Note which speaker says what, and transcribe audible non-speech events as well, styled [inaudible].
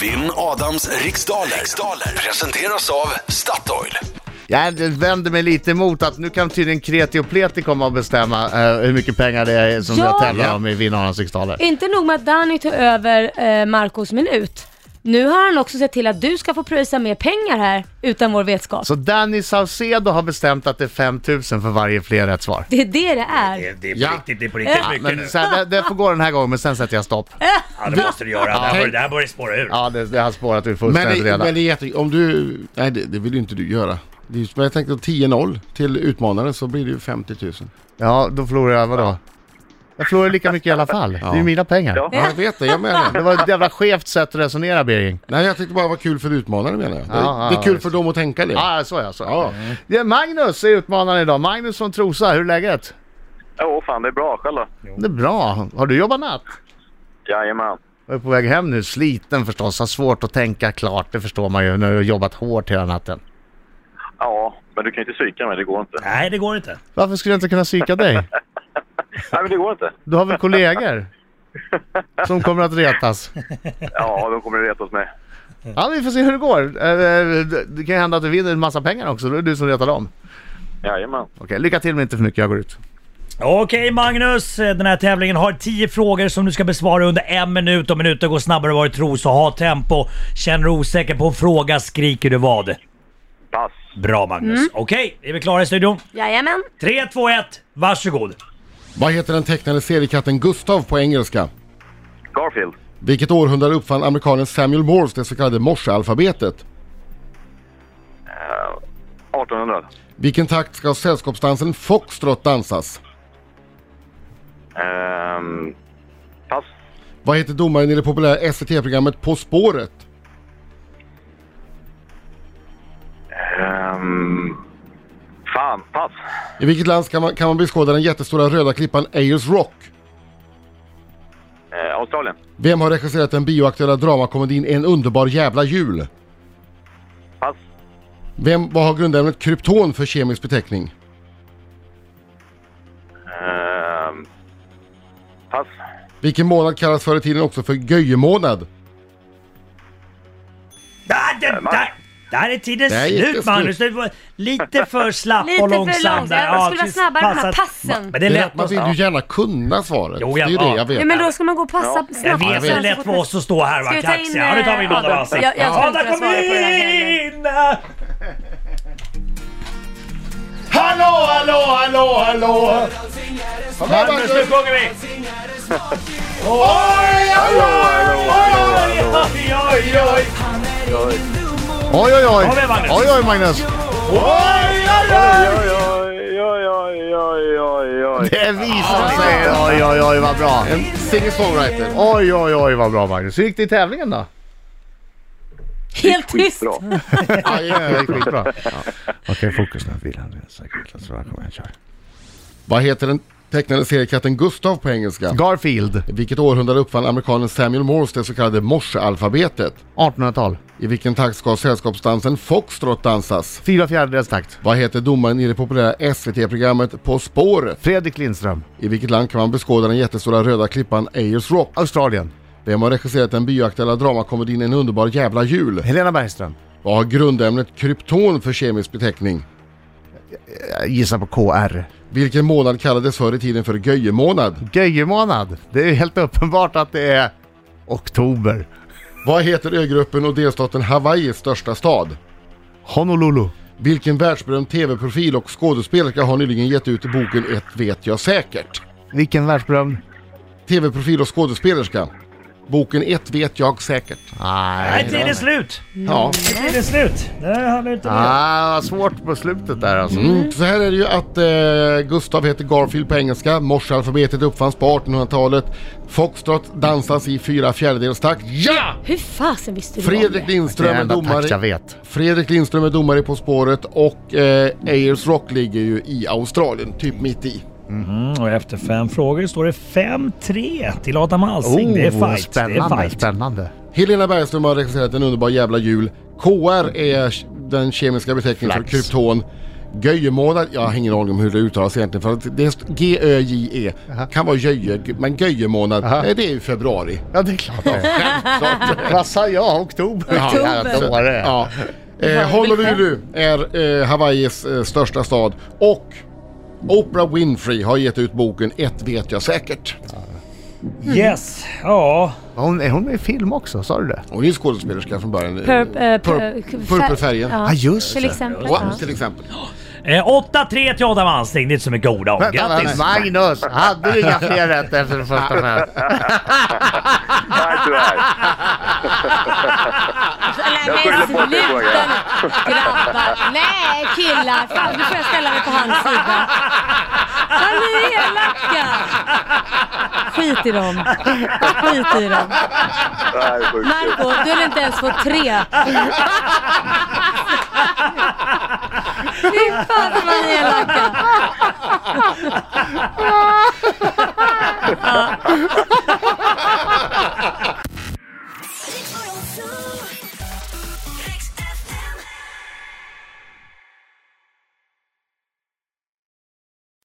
Speaker 1: Vinn Adams riksdaler. riksdaler presenteras av Statoil.
Speaker 2: Jag vänder mig lite emot att nu kan tydligen Kreti och Pleti komma och bestämma eh, hur mycket pengar det är som
Speaker 3: Ja.
Speaker 2: jag tävlar om i vinnarnas riksdaler.
Speaker 3: Inte nog med att Danny tog över eh, Marcos minut. Nu har han också sett till att du ska få pröjsa mer pengar här utan vår vetskap.
Speaker 2: Så Danny Saucedo har bestämt att det är 5000 för varje fler rätt svar.
Speaker 3: Det är det det är.
Speaker 4: Det, det är på
Speaker 2: Ja.
Speaker 4: riktigt, det är på riktigt
Speaker 3: Ja,
Speaker 4: mycket nu.
Speaker 2: Men så här, det, det får gå den här gången, men sen sätter jag stopp.
Speaker 4: Ja, det måste du göra. Det här börjar, det här börjar spåra ur.
Speaker 2: Ja, det, det har spårat ur
Speaker 5: Men
Speaker 2: fullständigt
Speaker 5: det,
Speaker 2: redan.
Speaker 5: men det är jätte... Om du... Nej, det, det vill ju inte du göra. Det är, ju- men jag tänkte 10-0 till utmanaren så blir det ju 50 000.
Speaker 2: Ja, då förlorar jag vadå? Jag förlorar lika mycket i alla fall. Det är ju mina pengar.
Speaker 5: [laughs] Ja, jag vet det. Jag menar
Speaker 2: Det
Speaker 5: det.
Speaker 2: var ett jävla skevt sätt att resonera, Birging.
Speaker 5: Nej, jag tyckte bara det var kul för utmanaren menar jag. Det,
Speaker 2: Ja,
Speaker 5: det
Speaker 2: ja,
Speaker 5: är kul
Speaker 2: visst.
Speaker 5: för dem att tänka det.
Speaker 2: Ja, ah, så ja, så ja.
Speaker 5: Ja.
Speaker 2: ja. Magnus är utmanaren idag. Magnus från Trosa, hur är läget?
Speaker 6: Jo, fan det är bra. Själv då?
Speaker 2: Det är bra. Har du jobbat natt?
Speaker 6: Jajamän.
Speaker 2: Jag är på väg hem nu, sliten förstås. Har svårt att tänka klart, det förstår man ju när du har jobbat hårt hela natten.
Speaker 6: Ja, men du kan ju inte psyka mig. Det går inte.
Speaker 4: Nej, det går inte.
Speaker 2: Varför skulle jag inte kunna psyka dig?
Speaker 6: Nej, men det går inte.
Speaker 2: Du har väl kollegor? Som kommer att retas.
Speaker 6: Ja, de kommer att retas med.
Speaker 2: Ja, vi får se hur det går. Eh, det- Det kan ju hända att du vinner en massa pengar också. Då är det du som retar dem.
Speaker 6: Jajamän.
Speaker 2: Okej, lycka till men inte för mycket. Jag går ut.
Speaker 4: Okej Magnus, den här tävlingen har 10 frågor som du ska besvara under en minut. Om minuten går snabbare än vad du tror så ha tempo. Känner du osäker på en fråga skriker du vad?
Speaker 6: Pass.
Speaker 4: Bra Magnus.
Speaker 3: Mm.
Speaker 4: Okej, är vi klara i studion?
Speaker 3: Jajamän.
Speaker 4: 3, 2, 1, varsågod.
Speaker 5: Vad heter den tecknade seriekatten Gustav på engelska?
Speaker 6: Garfield.
Speaker 5: Vilket århundrade uppfann amerikanen Samuel Morse det så kallade morsealfabetet?
Speaker 6: 1800.
Speaker 5: Vilken takt ska sällskapsdansen foxtrot dansas?
Speaker 6: Ehm, pass.
Speaker 5: Vad heter domaren i det populära SVT-programmet På spåret?
Speaker 6: Ehm, fan, pass.
Speaker 5: I vilket land kan man, kan man beskåda den jättestora röda klippan Ayers Rock?
Speaker 6: Eh, Australien.
Speaker 5: Vem har regisserat den bioaktuella dramakomedin En underbar jävla jul?
Speaker 6: Pass.
Speaker 5: Vem, vad har grundämnet krypton för kemisk beteckning?
Speaker 6: Ehm, pass.
Speaker 5: Vilken månad kallas förr i tiden också för göjemånad?
Speaker 4: Där, där, Ah, där. Där är tiden
Speaker 5: Det är
Speaker 4: slut
Speaker 5: jätteslut.
Speaker 4: Magnus. Du var lite för slapp
Speaker 3: Lite
Speaker 4: och
Speaker 3: för
Speaker 4: långsam
Speaker 3: långsam.
Speaker 4: där.
Speaker 3: Jag skulle vara
Speaker 4: precis.
Speaker 3: snabbare på de här
Speaker 4: Passat.
Speaker 3: passen.
Speaker 4: Men det är
Speaker 5: Det är
Speaker 4: lätt
Speaker 5: att man
Speaker 4: att...
Speaker 5: vill ju gärna kunna svaret.
Speaker 4: Jo,
Speaker 5: det
Speaker 4: jag-
Speaker 5: är ju det
Speaker 4: ja.
Speaker 5: jag vet.
Speaker 3: Ja, men då ska man gå och passa
Speaker 6: Ja.
Speaker 3: snabbt.
Speaker 4: Jag vet,
Speaker 5: jag
Speaker 4: det är
Speaker 5: vet.
Speaker 4: lätt för oss att stå här och
Speaker 3: Ska vi ta
Speaker 4: harva
Speaker 3: in,
Speaker 4: kaxi. Ja, nu tar vi in
Speaker 3: eh,
Speaker 4: Adam Alsing.
Speaker 3: Jag- jag ska inte
Speaker 4: Adam kom
Speaker 3: svara på den här grejen.
Speaker 4: in!
Speaker 5: Hallå, hallå, hallå, hallå!
Speaker 4: Magnus, nu sjunger vi! Oj, oj, oj, oj!
Speaker 2: Oj, oj, oj!
Speaker 4: Kom igen, Magnus.
Speaker 2: Oj, oj, Magnus!
Speaker 6: Oj, oj, oj, oj, oj, oj, oj.
Speaker 2: Det visar sig! Oj, oj, oj, vad bra!
Speaker 5: En singer-songwriter.
Speaker 2: Oj, oj, oj, vad bra Magnus. Hur gick det i tävlingen då?
Speaker 3: Helt tyst.
Speaker 6: Bra.
Speaker 5: Aj, aj, aj.
Speaker 2: Det gick
Speaker 4: [laughs]
Speaker 2: skitbra. Okej, fokus nu. Vilan, säkert. Kom igen, kör.
Speaker 5: Vad heter den tecknade seriekatten Gustav på engelska?
Speaker 2: Garfield,
Speaker 5: Vilket århundrade uppfann amerikanen Samuel Morse det så kallade morsealfabetet?
Speaker 2: 1800-tal.
Speaker 5: I vilken takt ska sällskapsdansen foxtrot dansas?
Speaker 2: Fyra fjärdedels takt.
Speaker 5: Vad heter domaren i det populära SVT-programmet På spåret?
Speaker 2: Fredrik Lindström,
Speaker 5: I vilket land kan man beskåda den jättestora röda klippan Ayers Rock?
Speaker 2: Australien.
Speaker 5: Vem har regisserat den bioaktuella dramakomedin En underbar jävla jul?
Speaker 2: Helena Bergström.
Speaker 5: Vad har grundämnet krypton för kemisk beteckning?
Speaker 2: Jag gissar på KR.
Speaker 5: Vilken månad kallades förr i tiden för göjemånad?
Speaker 2: Göjemånad. Det är ju helt uppenbart att det är oktober.
Speaker 5: Vad heter ögruppen och delstaten Hawaiis största stad?
Speaker 2: Honolulu.
Speaker 5: Vilken världsberömd tv-profil och skådespelerska har nyligen gett ut boken Ett vet jag säkert?
Speaker 2: Vilken världsberömd?
Speaker 5: Tv-profil och skådespelerska. Boken Ett vet jag säkert.
Speaker 4: Nej,
Speaker 2: Nej.
Speaker 4: tiden är slut!
Speaker 5: Ja.
Speaker 4: Tiden är slut! Det hann du inte med.
Speaker 2: Ah, vad svårt på slutet där alltså.
Speaker 5: Mm. Så här är det ju att eh, Gustav heter Garfield på engelska, morsealfabetet uppfanns på 1800-talet, foxtrot dansas i fyra fjärdedels takt. Ja!
Speaker 3: Hur fasen visste du om
Speaker 5: Fredrik
Speaker 3: det?
Speaker 2: Det är
Speaker 5: Lindström är
Speaker 2: enda takt jag
Speaker 5: domare.
Speaker 2: vet.
Speaker 5: Fredrik Lindström är domare i På spåret och eh, Ayers Rock ligger ju i Australien, typ mitt i.
Speaker 4: Mm, och efter fem frågor står det 5-3 till Adam Alsing. det är
Speaker 2: Oh,
Speaker 4: fight.
Speaker 2: spännande,
Speaker 4: det är fight.
Speaker 2: spännande.
Speaker 5: Helena Bergström har regisserat En underbar jävla jul. KR är den kemiska beteckningen
Speaker 2: Flax.
Speaker 5: för krypton. Göjemålad, jag har ingen aning om hur det uttalas egentligen för att det är G-Ö-J-E. Kan vara Göje, men Göjemånad,
Speaker 2: Aha.
Speaker 5: eh, det är ju februari.
Speaker 2: Ja, det är klart.
Speaker 5: [laughs]
Speaker 2: Vad sa jag? Oktober?
Speaker 5: Ja.
Speaker 2: Jävla dåre.
Speaker 5: Ja. Eh, Honolulu är eh, Hawaiis eh, största stad och Oprah Winfrey har gett ut boken Ett vet jag säkert.
Speaker 4: Yes, ja.
Speaker 2: Hon, är hon med i film också? Sa du det?
Speaker 5: Hon är ju skådespelerska från början.
Speaker 3: Purp- eh,
Speaker 5: Pur-
Speaker 3: pur-
Speaker 5: Purpelfärgen.
Speaker 3: Ja,
Speaker 2: Ja, just
Speaker 3: till
Speaker 2: det.
Speaker 3: exempel.
Speaker 5: Och,
Speaker 3: Ja.
Speaker 5: Till exempel.
Speaker 4: Eh, 8-3 till Adam Alsing, det är inte så mycket att orda om.
Speaker 2: Vänta,
Speaker 4: Grattis!
Speaker 2: Magnus, hade du inga fler rätt efter den första fem?
Speaker 6: Nej, tyvärr.
Speaker 3: Nej,
Speaker 6: Jag
Speaker 3: men
Speaker 6: skyller på att det
Speaker 3: sluta nu.
Speaker 6: frågar.
Speaker 3: Grabbar. Nej, killar. Fan, nu får jag ställa mig på hans sida. Fan, ni är elaka. Skit i dem. Skit i dem.
Speaker 6: Nej, sjukt.
Speaker 3: Marco, du har inte ens fått tre. Fy fan vad ni är elaka.